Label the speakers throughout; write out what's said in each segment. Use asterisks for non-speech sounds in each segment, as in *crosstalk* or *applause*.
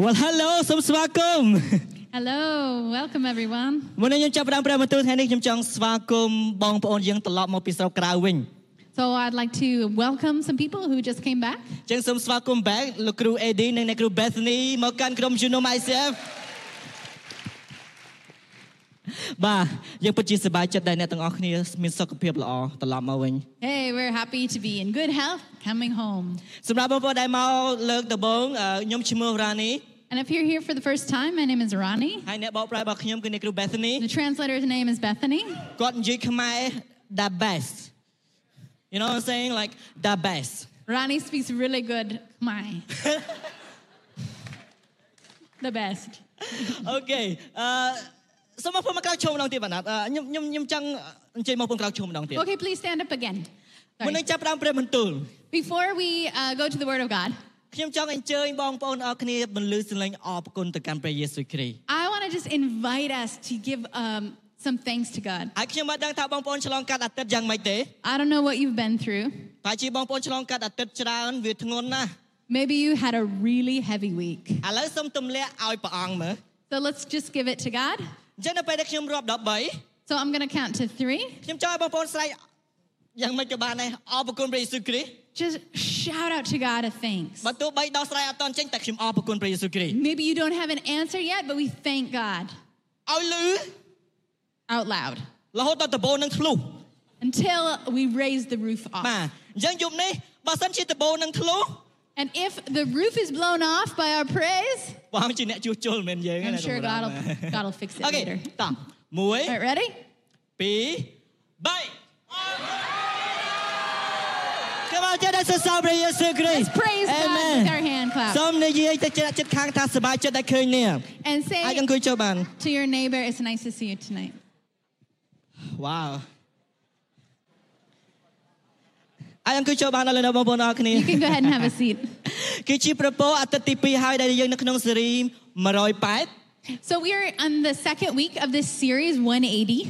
Speaker 1: Well hello សូមស្វាគមន៍ *laughs*
Speaker 2: Hello, welcome everyone.
Speaker 1: មុននឹងខ្ញុំចាប់ផ្ដើមព្រះបន្ទូលថ្ងៃនេះខ្ញុំចង់ស្វាគមន៍បងប្អូនយើងត្រឡប់មកពីស្រុកក្រៅវិញ
Speaker 2: So I'd like to welcome some people who just came back.
Speaker 1: អញ្ចឹងសូមស្វាគមន៍ back លោកគ្រូ AD និងអ្នកគ្រូ Bethany មកកាន់ក្រុម Junom ICF *laughs* បាទយើងពិតជាសប្បាយចិត្តដែលអ្នកទាំងអស់គ្នាមានសុខភាពល្អត្រឡប់មកវិញ
Speaker 2: Hey, we're happy to be in good health coming home.
Speaker 1: សម្រាប់បងប្អូនដែលមកលើកដំបូងអឺខ្ញុំឈ្មោះរ៉ានី
Speaker 2: And if you're here for the first time, my name is Rani.
Speaker 1: ហើយអ្នកបកប្រែរបស់ខ្ញុំគឺអ្នកគ្រូ Bethany
Speaker 2: The translator's name is Bethany.
Speaker 1: គាត់និយាយខ្មែរ the best You know what I'm saying like the best
Speaker 2: Rani speaks really good Khmer. *laughs* the best.
Speaker 1: អូខេអឺសូមមកពួកមកក្រោកឈរម្ដងទៀតបណ្ណាត់អឺខ្ញុំខ្ញុំខ្ញុំចង់អញ្ជើញមកពួកក្រោកឈរម្ដងទៀត
Speaker 2: Okay, please stand up again.
Speaker 1: មុន
Speaker 2: Sorry.
Speaker 1: នឹងចាប់ផ្ដើមព្រះបន្ទូល
Speaker 2: Before we uh, go to the Word of God,
Speaker 1: ខ្ញុំចង់អញ្ជើញបងប្អូនអរគ្នាបន្លឺសម្លេងអរគុណទៅកាន់ព្រះយេស៊ូវគ្រីស្ទ
Speaker 2: I want to just invite us to give um, some thanks to God.
Speaker 1: ហើយខ្ញុំបានដឹងថាបងប្អូនឆ្លងកាត់អាទិត្យយ៉ាងម៉េចទេ
Speaker 2: I don't know what you've been through.
Speaker 1: បើជាបងប្អូនឆ្លងកាត់អាទិត្យច្រើនវាធ្ងន់ណាស់
Speaker 2: Maybe you had a really heavy week.
Speaker 1: ឥឡូវសូមទម្លាក់ឲ្យព្រះអង្គមើល
Speaker 2: So let's just give it to God.
Speaker 1: អញ្ចឹងនៅពេលដែលខ្ញុំរាប់13
Speaker 2: So I'm going to count to three.
Speaker 1: ខ្ញុំចង់ឲ្យបងប្អូនស្រែកយ៉ាងម៉េចក៏បានដែរអរគុណព្រះយេស៊ូវគ្រីស្ទ
Speaker 2: Just shout out to God a thanks.
Speaker 1: បើទោះបីដោះស្រែកអត់តន់ចេញតែខ្ញុំអរគុណព្រះយេស៊ូវគ្រីស្ទ
Speaker 2: Maybe you don't have an answer yet, but we thank God
Speaker 1: ឲ្យលឺ
Speaker 2: out loud
Speaker 1: រហូតដល់ដំបូងនឹងធ្លុះ
Speaker 2: until we raise the roof off.
Speaker 1: បាទអញ្ចឹងយប់នេះបើសិនជាដបូលនឹងធ្លុះ
Speaker 2: And if the roof is blown off by our praise,
Speaker 1: ព្រះអង្គជាអ្នកជួសជុលមិនមែនយើង
Speaker 2: I'm sure God will, God will fix it
Speaker 1: អូខេ
Speaker 2: later.
Speaker 1: តោះ
Speaker 2: All right, ready?
Speaker 1: 1 2 3កម្មជាដែលសរសើរព្រះយេស៊ូវគ្រីស្ទ
Speaker 2: Let's praise God with our hand clap
Speaker 1: សូមនិយាយទៅជាចិត្តខាងថាសប្បាយចិត្តដែលឃើញនេះ
Speaker 2: and
Speaker 1: អាច
Speaker 2: say
Speaker 1: អង្គុយចូលបាន
Speaker 2: to your neighbor, It's nice to see you tonight.
Speaker 1: វ៉ាវអាចអង្គុយចូលបានដល់លើបងប្អូនអរគ្នា
Speaker 2: You can go ahead and have a seat.
Speaker 1: គឺជាប្រពោអាទិត្យទី2ហើយដែលយើងនៅក្នុងស៊េរី108
Speaker 2: So we are on the second week of this series, 180.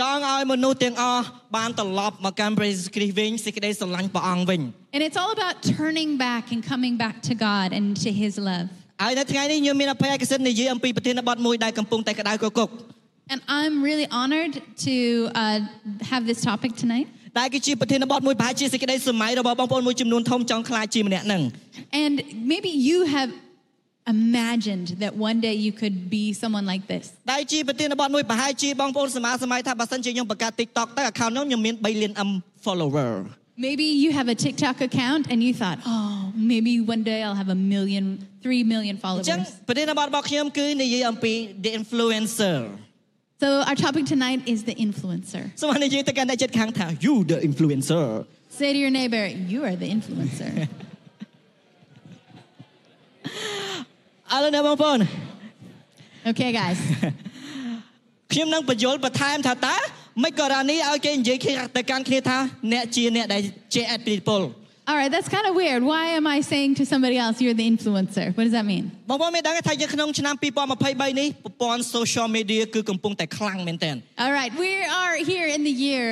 Speaker 1: ចង់ឲ្យមនុស្សទាំងអស់បានត្រឡប់មកកាន់ព្រះយេស៊ូវគ្រីស្ទវិញសេចក្តីស្រឡាញ់ព្រះអង្គវិញ
Speaker 2: And it's all about turning back and coming back to God and to His love.
Speaker 1: ហើយនៅថ្ងៃនេះខ្ញុំមានអភ័យឯកសិទ្ធិនិយាយអំពីប្រធានបទមួយដែលកំពុងតែក្តៅគគុក
Speaker 2: And I'm really honored to uh, have this topic tonight.
Speaker 1: ដែលគឺជាប្រធានបទមួយប្រហែលជាសេចក្តីសម័យរបស់បងប្អូនមួយចំនួនធំចង់ខ្លាចជាម្នាក់ហ្នឹង
Speaker 2: And maybe you have imagined that one day you could be someone like this.
Speaker 1: ដែលជាប្រធានបទមួយប្រហែលជាបងប្អូនសមាសម័យថាបើសិនជាខ្ញុំបង្កើត TikTok ទៅ account ខ្ញុំខ្ញុំមាន3លាន M follower
Speaker 2: Maybe you have a TikTok account and you thought, oh, maybe one day I'll have a million, three million
Speaker 1: អ
Speaker 2: followers.
Speaker 1: ញ្ចឹងប្រធានបទរបស់ខ្ញុំគឺនិយាយអំពី the influencer
Speaker 2: So our topic tonight is the influencer.
Speaker 1: សូមឲ្យនិយាយទៅកាន់អ្នកចិត្តខាងថា you the influencer
Speaker 2: Say to your neighbor, you are the influencer.
Speaker 1: ឥឡូវនេះបងប្អូន
Speaker 2: okay, guys.
Speaker 1: ខ្ញុំនឹងបញ្យល់បន្ថែមថាតើមិនក៏រ៉ានីឲ្យគេនិយាយគ្នាទៅកាន់គ្នាថាអ្នកជាអ្នកដែលជាអតិពល
Speaker 2: All right, that's kind of weird. Why am I saying to somebody else, you're the influencer? What does that mean?
Speaker 1: បងប្អូនមានដឹងទេថាយើងក្នុងឆ្នាំ2023នេះប្រព័ន្ធ social media គឺកំពុងតែខ្លាំងមែនទែន
Speaker 2: All right, we are here in the year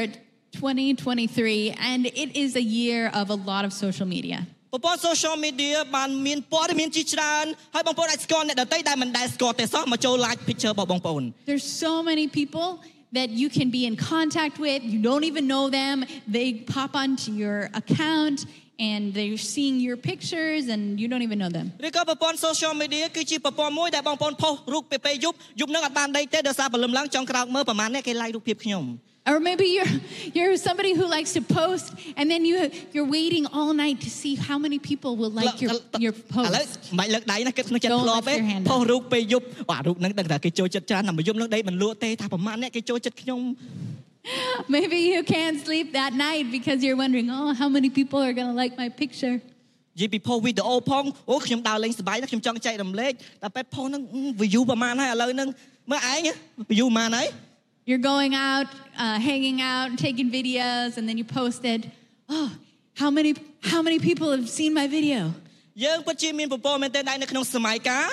Speaker 2: 2023, and it is a year of a lot of social media.
Speaker 1: ប្រព័ន្ធ social media បានមានព័ត៌មានជាច្រើនហើយបងប្អូនអាចស្គាល់អ្នកដទៃដែលមិនដែលស្គាល់ទេសោះមកចូល like picture របស់បងប្អូន
Speaker 2: There's so many people that you can be in contact with, you don't even know them, they pop onto your account, and they're seeing your pictures and you don't even know them.
Speaker 1: ឬក៏ប្រព័ន្ធ social media គឺជាប្រព័ន្ធមួយដែលបងប្អូនផុសរូបពេលពេលយប់យប់នឹងអត់បានដេកទេដោយសារព្រលឹមឡើងចង់ក្រោកមើលប្រហែលអ្នកគេ like រូបភាពខ្ញុំ
Speaker 2: Or maybe you're you're somebody who likes to post and then you you're waiting all night to see how many people will like your
Speaker 1: ឥ
Speaker 2: your
Speaker 1: ឥឡូវ
Speaker 2: post.
Speaker 1: មិនលើកដៃណាគិតក្នុងចិត្ត
Speaker 2: Don't
Speaker 1: ធ្លាប់
Speaker 2: lift
Speaker 1: ទេ
Speaker 2: your hand up.
Speaker 1: ផុសរូបពេលយប់បាទរូបហ្នឹងដឹងថាគេចូលចិត្តច្រើនតែមួយយប់នឹងដេកមិនលក់ទេថាប្រហែលអ្នកគេចូលចិត្តខ្ញុំ
Speaker 2: Maybe you can't sleep that night because you're wondering, "Oh, how many people are going to like my picture?"
Speaker 1: និយាយពីផុសវីដេអូផងអូខ្ញុំដើរលេងសប្បាយណាស់ខ្ញុំចង់ចែករំលែកតែពេលផុសហ្នឹងអឺ view ប្រហែលហើយឥឡូវហ្នឹងមើលឯង view ប្រហែលហើយ
Speaker 2: You're going out, uh, hanging out, taking videos, and then you posted, "Oh, how many how many people have seen my video?"
Speaker 1: យើងពិតជាមានប្រព័ន្ធមែនទែនដែរនៅក្នុងសម័យកាល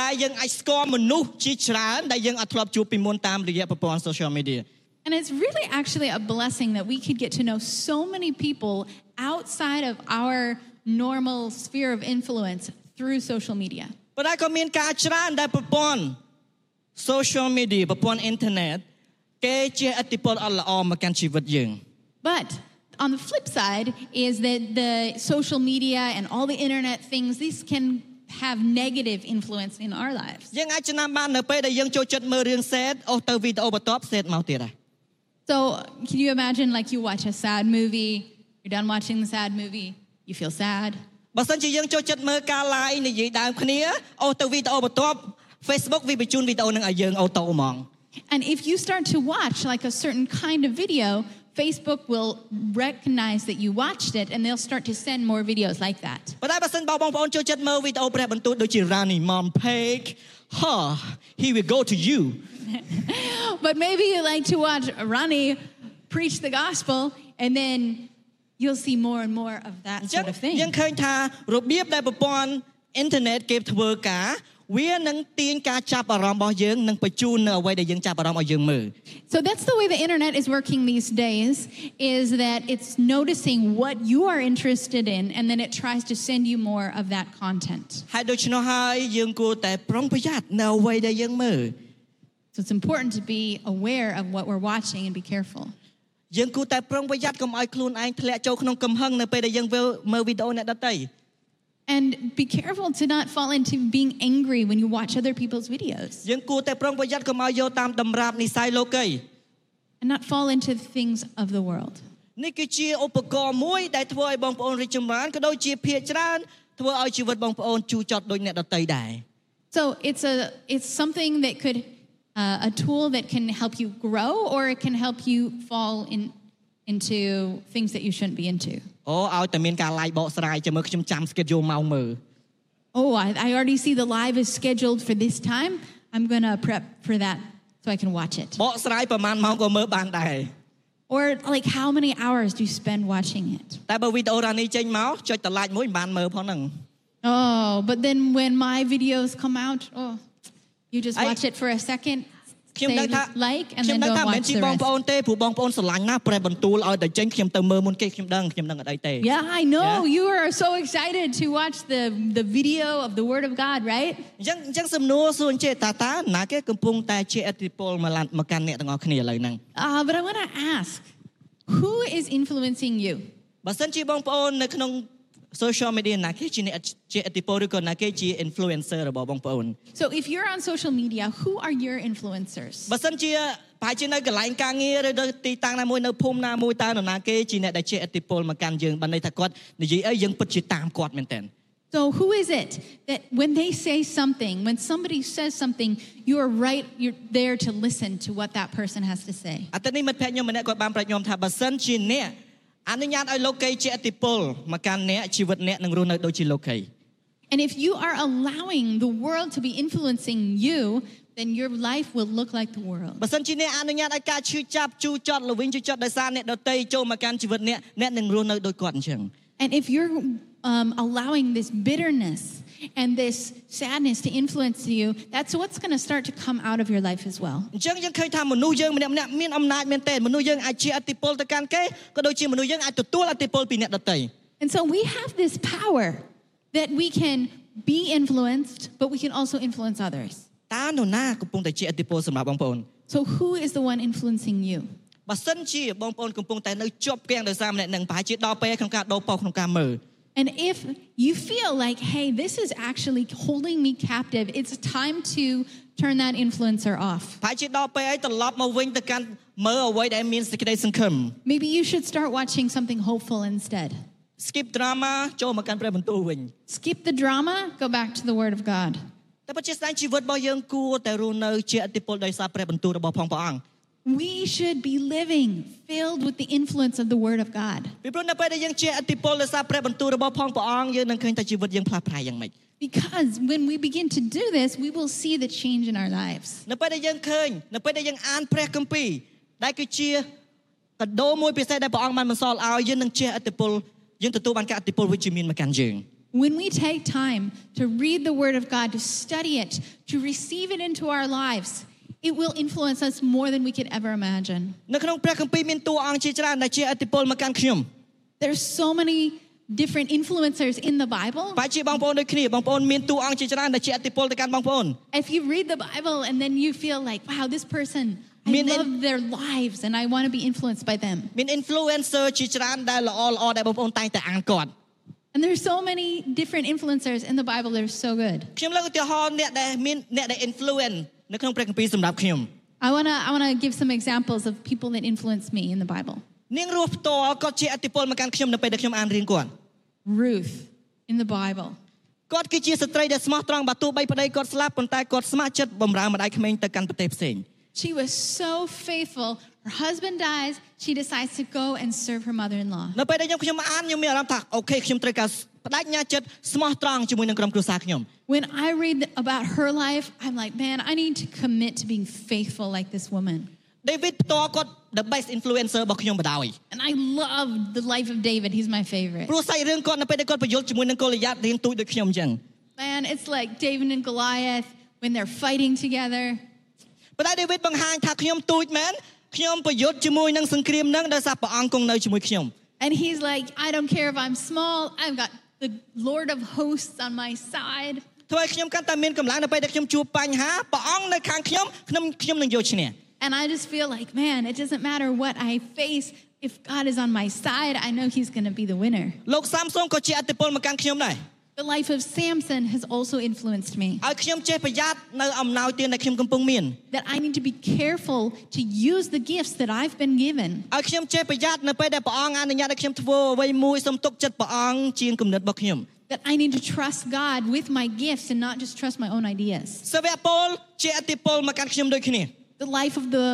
Speaker 1: ដែលយើងអាចស្គាល់មនុស្សជាច្រើនដែលយើងអត់ធ្លាប់ជួបពីមុនតាមរយៈប្រព័ន្ធ social media
Speaker 2: And it's really actually a blessing that we could get to know so many people outside of our normal sphere of influence through social media.
Speaker 1: ប៉ុន្តែក៏មានការច្រើនដែលប្រព័ន្ធ social media ប្រព័ន្ធ internet គេជាឥទ្ធិពលអត់ល្អមកកាន់ជីវិតយើង
Speaker 2: But on the flip side is that the social media and all the internet things, these can have negative influence in our lives.
Speaker 1: យើងអាចចំណាំបាននៅពេលដែលយើងចូលចិត្តមើលរឿងសេតអូសទៅវីដេអូបន្ទាប់សេតមកទៀតហើយ
Speaker 2: So can you imagine like you watch a sad movie, you're done watching the sad movie, you feel sad.
Speaker 1: បើសិនជាយើងចូលចិត្តមើលការ live និយាយដើមគ្នាអូសទៅវីដេអូបន្ទាប់ Facebook វាបញ្ជូនវីដេអូនឹងឲ្យយើងអូតូហ្មង
Speaker 2: And if you start to watch like a certain kind of video, Facebook will recognize that you watched it and they'll start to send more videos like that.
Speaker 1: ប៉ុន្តែបើសិនបើបងប្អូនចូលចិត្តមើលវីដេអូព្រះបន្ទូលដូចជា Rani Mom Page ហ here we go to you
Speaker 2: But maybe you like to watch Ronnie preach the gospel and then you'll see more and more of that
Speaker 1: អញ្ចឹង
Speaker 2: sort of thing.
Speaker 1: យើងឃើញថារបៀបដែលប្រព័ន្ធ internet គេធ្វើការវានឹងទាញការចាប់អារម្មណ៍របស់យើងនិងបញ្ជូននៅអ្វីដែលយើងចាប់អារម្មណ៍ឲ្យយើងមើល
Speaker 2: So that's the way the internet is working these days is that it's noticing what you are interested in and then it tries to send you more of that content.
Speaker 1: ហើយដូច្នោះហើយយើងគួរតែប្រុងប្រយ័ត្ននៅអ្វីដែលយើងមើល
Speaker 2: So it's important to be aware of what we're watching and be careful.
Speaker 1: យើងគួរតែប្រុងប្រយ័ត្នកុំឲ្យខ្លួនឯងធ្លាក់ចូលក្នុងកំហឹងនៅពេលដែលយើងមើលវីដេអូអ្នកដទៃ
Speaker 2: And be careful to not fall into being angry when you watch other people's videos
Speaker 1: យើងគួរតែប្រុងប្រយ័ត្នកុំឲ្យយកតាមតម្រាប់និស្ស័យលោកី
Speaker 2: and not fall into the things of the world.
Speaker 1: នេះគឺជាឧបករណ៍មួយដែលធ្វើឲ្យបងប្អូនរីកចម្រើនក៏ដូចជាភាកច្រើនធ្វើឲ្យជីវិតបងប្អូនជូរចត់ដូចអ្នកដតីដែរ
Speaker 2: So it's a it's something that could uh, a tool that can help you grow or it can help you fall in into things that you shouldn't be into.
Speaker 1: អូឲ្យតែមានការឡាយបកស្រាយចាំមើលខ្ញុំចាំស្គិតយកម៉ោងមើល
Speaker 2: Oh, I, I already see the live is scheduled for this time. I'm gonna prep for that so I can watch it.
Speaker 1: បកស្រាយប្រហែលម៉ោងក៏មើលបានដែរ
Speaker 2: Or like how many hours do you spend watching it?
Speaker 1: តែបើវីដេអូរ៉ានីចេញមកចុចតឡាច់មួយមិនបានមើលផងហ្នឹង
Speaker 2: Oh, but then when my videos come out, oh, you just
Speaker 1: I-
Speaker 2: watch it for a second,
Speaker 1: ខ្ញុំដឹ
Speaker 2: say
Speaker 1: ងថា
Speaker 2: like, and
Speaker 1: ខ្ញុំ
Speaker 2: then
Speaker 1: ដឹង
Speaker 2: don't
Speaker 1: ថាមិនមែន
Speaker 2: watch
Speaker 1: ជា
Speaker 2: the
Speaker 1: បង
Speaker 2: rest.
Speaker 1: ប្អូនទេព្រោះបងប្អូនស្រឡាញ់ណាស់ព្រះបន្ទូលឲ្យតែចេញខ្ញុំទៅមើលមុនគេខ្ញុំដឹងខ្ញុំដឹងអត់អីទេ
Speaker 2: Yeah, I know
Speaker 1: Yeah.
Speaker 2: you are so excited to watch the the video of the Word of God, right?
Speaker 1: អញ្ចឹងអញ្ចឹងសំណួរសួរអញ្ចេតតាតាណាគេកំពុងតែជាអតិពលមកឡានមកកាន់អ្នកទាំងអស់គ្នាឥឡូវហ្នឹង
Speaker 2: Uh, but I want to ask, who is influencing you?
Speaker 1: បើសិនជាបងប្អូននៅក្នុង social media ណាគេជាអ្នកជាអតិពលឬក៏ណាគេជា influencer របស់បងប្អូន
Speaker 2: So if you're on social media, who are your influencers?
Speaker 1: បើសិនជាប្រហែលជានៅកន្លែងការងារឬនៅទីតាំងណាមួយនៅភូមិណាមួយតើនរណាគេជាអ្នកដែលជាអតិពលមកកាន់យើងបានន័យថាគាត់និយាយអីយើងពិតជាតាមគាត់មែនតើ
Speaker 2: So who is it that when they say something, when somebody says something, you are right, you're there to listen to what that person has to say.
Speaker 1: អតីតនេះមិត្តភក្តិខ្ញុំម្នាក់គាត់បានប្រាប់ខ្ញុំថាបើសិនជាអ្នកអនុញ្ញាតឲ្យលោកគេជាអតិពលមកកាន់អ្នកជីវិតអ្នកនឹងរស់នៅដូចជាលោកគេ
Speaker 2: And if you are allowing the world to be influencing you, then your life will look like the world.
Speaker 1: បើសិនជាអ្នកអនុញ្ញាតឲ្យការឈឺចាប់ជូរចត់ល្វីងជូរចត់ដោយសារអ្នកដតីចូលមកកាន់ជីវិតអ្នកអ្នកនឹងរស់នៅដូចគាត់អញ្ចឹង
Speaker 2: And if you're um, allowing this bitterness and this sadness to influence you, that's what's going to start to come out of your life as well.
Speaker 1: អញ្ចឹងយើងឃើញថាមនុស្សយើងម្នាក់ៗមានអំណាចមែនទែនមនុស្សយើងអាចជាអតិពលទៅកាន់គេក៏ដូចជាមនុស្សយើងអាចទទួលអតិពលពីអ្នកដតី
Speaker 2: And so we have this power that we can be influenced, but we can also influence others.
Speaker 1: តើនរណាកំពុងតែជាអតិពលសម្រាប់បងប្អូន
Speaker 2: So who is the one influencing you?
Speaker 1: បើសិនជាបងប្អូនកំពុងតែនៅជាប់គាំងដោយសារម្នាក់នឹងប្រហែលជាដល់ពេលក្នុងការដោះបោសក្នុងការមើល
Speaker 2: And if you feel like, hey, this is actually holding me captive, it's time to turn that influencer off.
Speaker 1: ប្រហែលជាដល់ពេលអីត្រឡប់មកវិញទៅកាន់មើលអ្វីដែលមានសេចក្តីសង្ឃឹម
Speaker 2: Maybe you should start watching something hopeful instead.
Speaker 1: skip drama ចូលមកកាន់ព្រះបន្ទូលវិញ
Speaker 2: Skip the drama, go back to the Word of God.
Speaker 1: តែពិតជាស្ដែងជីវិតរបស់យើងគួរតែរស់នៅជាអធិពលដោយសារព្រះបន្ទូលរបស់ផងព្រះអង្គ
Speaker 2: We should be living filled with the influence of the Word of God.
Speaker 1: ពីព្រោះនៅពេលដែលយើងជាអធិពលដោយសារព្រះបន្ទូលរបស់ផងព្រះអង្គយើងនឹងឃើញថាជីវិតយើងផ្លាស់ប្រែយ៉ាងម៉េច
Speaker 2: Because when we begin to do this, we will see the change in our lives.
Speaker 1: នៅពេលដែលយើងឃើញនៅពេលដែលយើងអានព្រះគម្ពីរដែលគឺជាកដោមួយពិសេសដែលព្រះអង្គបានបន្សល់ឲ្យយើងនឹងជាអធិពលយើងទទួលបានការអធិពលវិជ្ជមានមកកាន់យើង
Speaker 2: When we take time to read the Word of God, to study it, to receive it into our lives, it will influence us more than we could ever imagine.
Speaker 1: នៅក្នុងព្រះគម្ពីរមានតួអង្គជាច្រើនដែលជាអធិពលមកកាន់ខ្ញុំ
Speaker 2: There's so many different influencers in the Bible.
Speaker 1: បើជាបងប្អូនដូចគ្នាបងប្អូនមានតួអង្គជាច្រើនដែលជាអធិពលទៅកាន់បងប្អូន
Speaker 2: If you read the Bible and then you feel like, wow, this person, I
Speaker 1: Mean-
Speaker 2: love their lives and I want to be influenced by them.
Speaker 1: មាន influencer ជាច្រើនដែលល្អល្អដែលបងប្អូនតែងតែអានគាត់
Speaker 2: And there's so many different influencers in the Bible that are so good.
Speaker 1: ខ្ញុំលើកឧទាហរណ៍អ្នកដែលមានអ្នកដែល influence នៅក្នុងព្រះគម្ពីរសម្រាប់ខ្ញុំ
Speaker 2: I want to I want to give some examples of people that influenced me in the Bible.
Speaker 1: នាងរស់ផ្ទាល់គាត់ជាអធិពលមកកាន់ខ្ញុំនៅពេលដែលខ្ញុំអានរៀងគាត់
Speaker 2: Ruth in the Bible.
Speaker 1: គាត់គឺជាស្ត្រីដែលស្មោះត្រង់បើទោះបីប្តីគាត់ស្លាប់ប៉ុន្តែគាត់ស្ម័គ្រចិត្តបម្រើម្ដាយក្មេងទៅកាន់ប្រទេសផ្សេង
Speaker 2: She was so faithful. Her husband dies, she decides to go and serve her mother-in-law.
Speaker 1: នៅពេលដែលខ្ញុំខ្ញុំអានខ្ញុំមានអារម្មណ៍ថាអូខេខ្ញុំត្រូវការបដិញ្ញាចិត្តស្មោះត្រង់ជាមួយនឹងក្រុមគ្រួសារខ្ញុំ
Speaker 2: When I read about her life, I'm like, man, I need to commit to being faithful like this woman.
Speaker 1: David ផ្ទាល់គាត់ the best influencer របស់ខ្ញុំបណ្ដោយ
Speaker 2: And I love the life of David. He's my favorite.
Speaker 1: ព្រោះសាច់រឿងគាត់នៅពេលដែលគាត់បញ្យល់ជាមួយនឹងកូលីយ៉ាតរៀងទូចដូចខ្ញុំអញ្ចឹង
Speaker 2: Man, it's like David and Goliath when they're fighting together.
Speaker 1: ប៉ុន្តែ David បង្ហាញថាខ្ញុំទូចមែនខ្ញុំប្រយុទ្ធជាមួយនឹងសង្គ្រាមហ្នឹងដោយសារព្រះអង្គគង់នៅជាមួយខ្ញុំ
Speaker 2: And he's like, I don't care if I'm small, I've got the Lord of hosts on my side.
Speaker 1: ធ្វើឲ្យខ្ញុំកាន់តែមានកម្លាំងនៅពេលដែលខ្ញុំជួបបញ្ហាព្រះអង្គនៅខាងខ្ញុំខ្ញុំខ្ញុំនឹងយកឈ្នះ
Speaker 2: And I just feel like, man, it doesn't matter what I face. If God is on my side, I know he's going to be the winner.
Speaker 1: លោកសាមសុងក៏ជាអតិពលមកកាន់ខ្ញុំដែរ
Speaker 2: The life of Samson has also influenced me
Speaker 1: ឲ្យខ្ញុំចេះប្រយ័ត្ននៅអំណោយទានដែលខ្ញុំកំពុងមាន
Speaker 2: that I need to be careful to use the gifts that I've been given.
Speaker 1: ឲ្យខ្ញុំចេះប្រយ័ត្ននៅពេលដែលព្រះអង្គអនុញ្ញាតឲ្យខ្ញុំធ្វើអ្វីមួយសូមទុកចិត្តព្រះអង្គជាងគំនិតរបស់ខ្ញុំ
Speaker 2: That I need to trust God with my gifts and not just trust my own ideas.
Speaker 1: សាវកពលជាអតិពលមកកាន់ខ្ញុំដូចគ្នា
Speaker 2: The life of the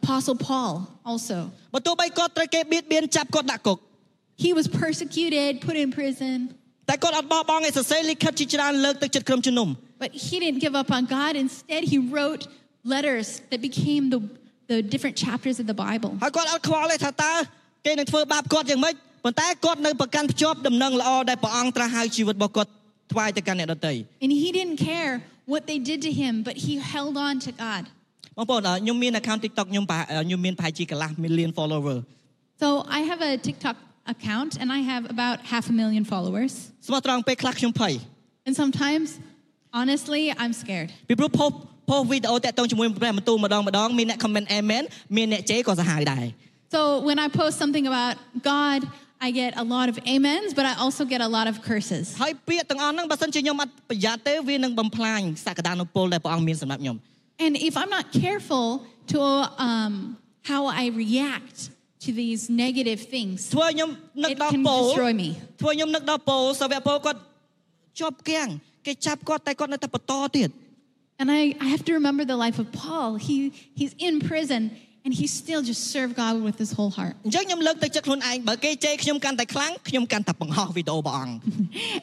Speaker 2: Apostle Paul also.
Speaker 1: បើទោះបីគាត់ត្រូវគេបៀតបៀនចាប់គាត់ដាក់គុក
Speaker 2: He was persecuted, put in prison,
Speaker 1: តែគាត់អត់បោះបង់ឯសរសេរលិខិតជាច្រើនលើកទឹកចិត្តក្រុមជំនុំ
Speaker 2: But he didn't give up on God. Instead, he wrote letters that became the, the different chapters of the Bible.
Speaker 1: ហើយគាត់អត់ខ្វល់ទេថាតើគេនឹងធ្វើបាបគាត់យ៉ាងម៉េចប៉ុន្តែគាត់នៅប្រកាន់ភ្ជាប់ដំណឹងល្អដែលព្រះអង្គត្រាស់ហៅជីវិតរបស់គាត់ថ្វាយទៅកាន់អ្នកដទៃ
Speaker 2: And he didn't care what they did to him, but he held on to God.
Speaker 1: បងប្អូនអ่ะខ្ញុំមាន account TikTok ខ្ញុំប្រហែលខ្ញុំមានប្រហែលជាកន្លះ million follower
Speaker 2: So I have a TikTok account, and I have about half a million followers.
Speaker 1: ស្មោះត្រង់ពេលខ្លះខ្ញុំភ័យ
Speaker 2: And sometimes, honestly, I'm scared.
Speaker 1: ពីព្រោះផុសផុសវីដេអូតាក់ទងជាមួយព្រះបន្ទូលម្ដងម្ដងមានអ្នក comment amen មានអ្នកជេរក៏សាហាវដែរ
Speaker 2: So when I post something about God, I get a lot of amens, but I also get a lot of curses.
Speaker 1: ហើយពាក្យទាំងអស់ហ្នឹងបើសិនជាខ្ញុំអត់ប្រយ័ត្នទេវានឹងបំផ្លាញសក្តានុពលដែលព្រះអង្គមានសម្រាប់ខ្ញុំ
Speaker 2: And if I'm not careful to um, how I react to these negative things,
Speaker 1: ធ្វើឲ្យខ្ញុំនឹក
Speaker 2: it
Speaker 1: ដល់
Speaker 2: can
Speaker 1: ពោល
Speaker 2: destroy me.
Speaker 1: ធ្វើខ្ញុំនឹកដល់ពោលសាវកពោលគាត់ជាប់គាំងគេចាប់គាត់តែគាត់នៅតែបន្តទៀត
Speaker 2: And I, I have to remember the life of Paul. He, he's in prison and he still just served God with his whole heart.
Speaker 1: អញ្ចឹងខ្ញុំលើកទឹកចិត្តខ្លួនឯងបើគេជេរខ្ញុំកាន់តែខ្លាំងខ្ញុំកាន់តែបង្ហោះវីដេអូព្រះអង្គ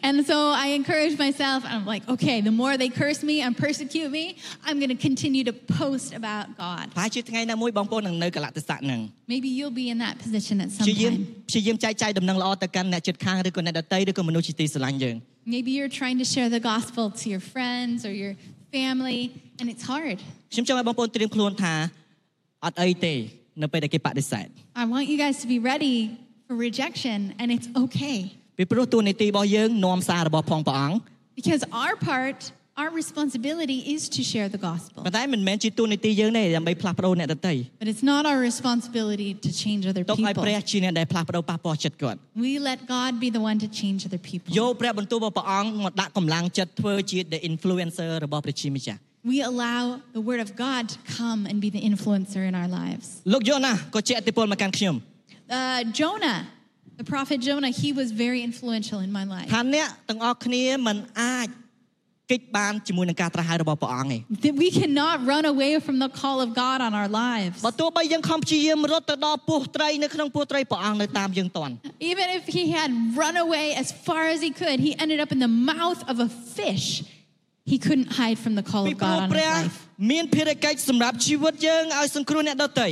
Speaker 2: And so I encourage myself, and I'm like, okay, the more they curse me and persecute me, I'm going to continue to post about God.
Speaker 1: ប្រហែលជាថ្ងៃណាមួយបងប្អូននឹងនៅកលៈទេសៈហ្នឹង
Speaker 2: Maybe you'll be in that position at some
Speaker 1: ព្យាយាម
Speaker 2: time.
Speaker 1: ព្យាយាមចែកចាយដំណឹងល្អទៅកាន់អ្នកជិតខាងឬក៏អ្នកដទៃឬក៏មនុស្សជាទីស្រឡាញ់យើង
Speaker 2: Maybe you're trying to share the gospel to your friends or your family, and it's hard.
Speaker 1: ខ្ញុំចង់ឲ្យបងប្អូនត្រៀមខ្លួនថាអត់អីទេ នៅពេលដែលគេបដិសេធ
Speaker 2: I want you guys to be ready for rejection, and it's okay.
Speaker 1: ពីព្រោះទួលនីតិរបស់យើងនាំសាររបស់ផងព្រះអង្គ
Speaker 2: Because our part Our responsibility is to share the gospel,
Speaker 1: ប៉ុន្តែមិនមែនជាទូនីតិយើងទេដើម្បីផ្លាស់ប្ដូរអ្នកដទៃ
Speaker 2: but it's not our responsibility to change other
Speaker 1: ទុកឲ្យព្រះ
Speaker 2: people.
Speaker 1: ជាអ្នកដែលផ្លាស់ប្ដូរប៉ះពាល់ចិត្តគាត់
Speaker 2: We let God be the one to change other
Speaker 1: យ
Speaker 2: people.
Speaker 1: ល់ព្រះបន្ទូលរបស់ព្រះអង្គមកដាក់កម្លាំងចិត្តធ្វើជា the influencer របស់ព្រះជាម្ចាស់
Speaker 2: We allow the word of God to come and be the influencer in our lives.
Speaker 1: លោកយ៉ូណាក៏ជាអតិពលមកកាន់ខ្ញុំ
Speaker 2: Uh, Jonah, the prophet Jonah, he was very influential in my life.
Speaker 1: ថាអ្នកទាំងអស់គ្នាមិនអាចគេចបានជាមួយនឹងការត្រាស់ហៅរបស់ព្រះអង្គទេ
Speaker 2: That we cannot run away from the call of God on our lives.
Speaker 1: បើទោះបីយើងខំព្យាយាមរត់ទៅដល់ពោះត្រីនៅក្នុងពោះត្រីព្រះអង្គនៅតាមយើងតាន់
Speaker 2: Even if he had run away as far as he could, he ended up in the mouth of a fish. He couldn't hide from the call
Speaker 1: ពី
Speaker 2: of
Speaker 1: ព្រោះ
Speaker 2: God on
Speaker 1: ព្រះ
Speaker 2: his life
Speaker 1: មានភារកិច្ចសម្រាប់ជីវិតយើងឲ្យសង្គ្រោះអ្នកដទៃ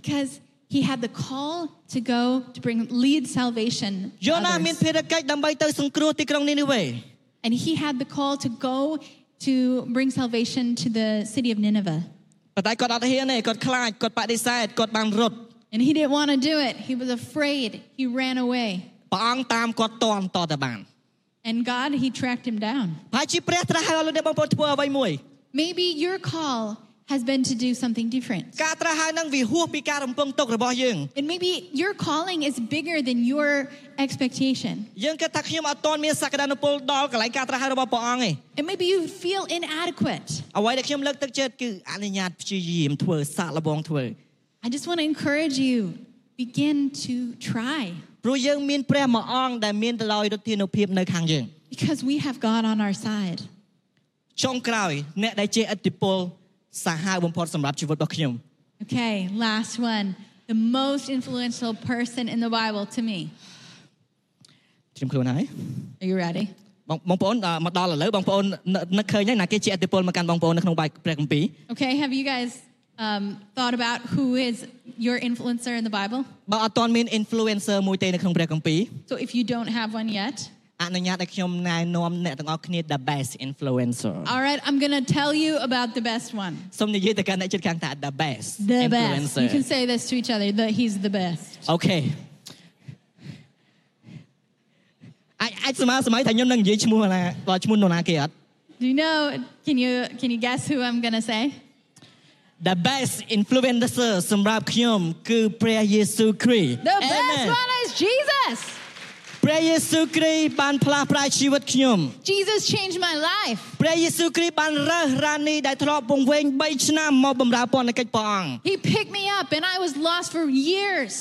Speaker 2: because he had the call to go to bring lead salvation. to
Speaker 1: យ៉ូណាមាន
Speaker 2: others.
Speaker 1: ភារកិច្ចដើម្បីទៅសង្គ្រោះទីក្រុងនីនីវេ
Speaker 2: And he had the call to go to bring salvation to the city of Nineveh.
Speaker 1: ប៉ុន្តែគាត់អត់ហ៊ានទេគាត់ខ្លាចគាត់បដិសេធគាត់បានរត់
Speaker 2: And he didn't want to do it. He was afraid. He ran away.
Speaker 1: ព្រះអង្គតាមគាត់តន់តតែបាន
Speaker 2: And God, he tracked him down.
Speaker 1: ហើយជាព្រះត្រាស់ហៅលោកអ្នកបងប្អូនធ្វើអ្វីមួយ
Speaker 2: Maybe your call has been to do something different.
Speaker 1: ការត្រាស់ហៅនឹងវិហួសពីការរំពឹងទុករបស់យើង
Speaker 2: And maybe your calling is bigger than your expectation.
Speaker 1: យើងគិតថាខ្ញុំអត់ទាន់មានសក្តានុពលដល់កន្លែងការត្រាស់ហៅរបស់ព្រះអង្គទេ
Speaker 2: And maybe you feel inadequate.
Speaker 1: អ្វីដែលខ្ញុំលើកទឹកចិត្តគឺអនុញ្ញាតព្យាយាមធ្វើសាកល្បងធ្វើ
Speaker 2: I just want to encourage you begin to try
Speaker 1: ព្រោះយើងមានព្រះមួយអង្គដែលមានទៅដោយរដ្ឋាភិបាលនៅខាងយើង
Speaker 2: because we have God on our side.
Speaker 1: ចុងក្រោយអ្នកដែលជាឥទ្ធិពលសាហាវបំផុតសម្រាប់ជីវិតរបស់ខ្ញុំ
Speaker 2: Okay, last one. The most influential person in the Bible to me.
Speaker 1: ខ្ញុំខ្លួនហើយ
Speaker 2: Are you ready?
Speaker 1: បងបងប្អូនអ่าមកដល់ឥឡូវបងប្អូននឹកនឹកឃើញហើយណាគេជាឥទ្ធិពលមកកាន់បងប្អូននៅក្នុងបាយព្រះគម្ពីរ
Speaker 2: Okay, have you guys um, thought about who is your influencer in the Bible?
Speaker 1: បើអត់ទាន់មាន influencer មួយទេនៅក្នុងព្រះគម្ពីរ
Speaker 2: So if you don't have one yet,
Speaker 1: អនុញ្ញាតឲ្យខ្ញុំណែនាំអ្នកទាំងអស់គ្នា the best influencer
Speaker 2: all right, I'm going to tell you about the best one.
Speaker 1: សូមនិយាយទៅកាន់អ្នកជិតខាងថា the best
Speaker 2: The best.
Speaker 1: influencer
Speaker 2: You can say this to each other that he's the best.
Speaker 1: អូខេអាចអាចស្មើស្មៃថាខ្ញុំនឹងនិយាយឈ្មោះណាដល់ឈ្មោះនរណាគេអត់
Speaker 2: Do you know? Can you can you guess who I'm gonna say?
Speaker 1: The best influencer សម្រាប់ខ្ញុំគឺព្រះយេស៊ូវគ្រីស្ទ
Speaker 2: The best one is Jesus.
Speaker 1: ព្រះយេស៊ូវគ្រីស្ទបានផ្លាស់ប្ដូរជីវិតខ្ញុំ
Speaker 2: Jesus changed my life.
Speaker 1: ព្រះយេស៊ូវគ្រីស្ទបានរើសរានីដែលធ្លាប់វង្វេង3ឆ្នាំមកបម្រើពន្ធកិច្ចព្រះអង្គ
Speaker 2: He picked me up, and I was lost for years,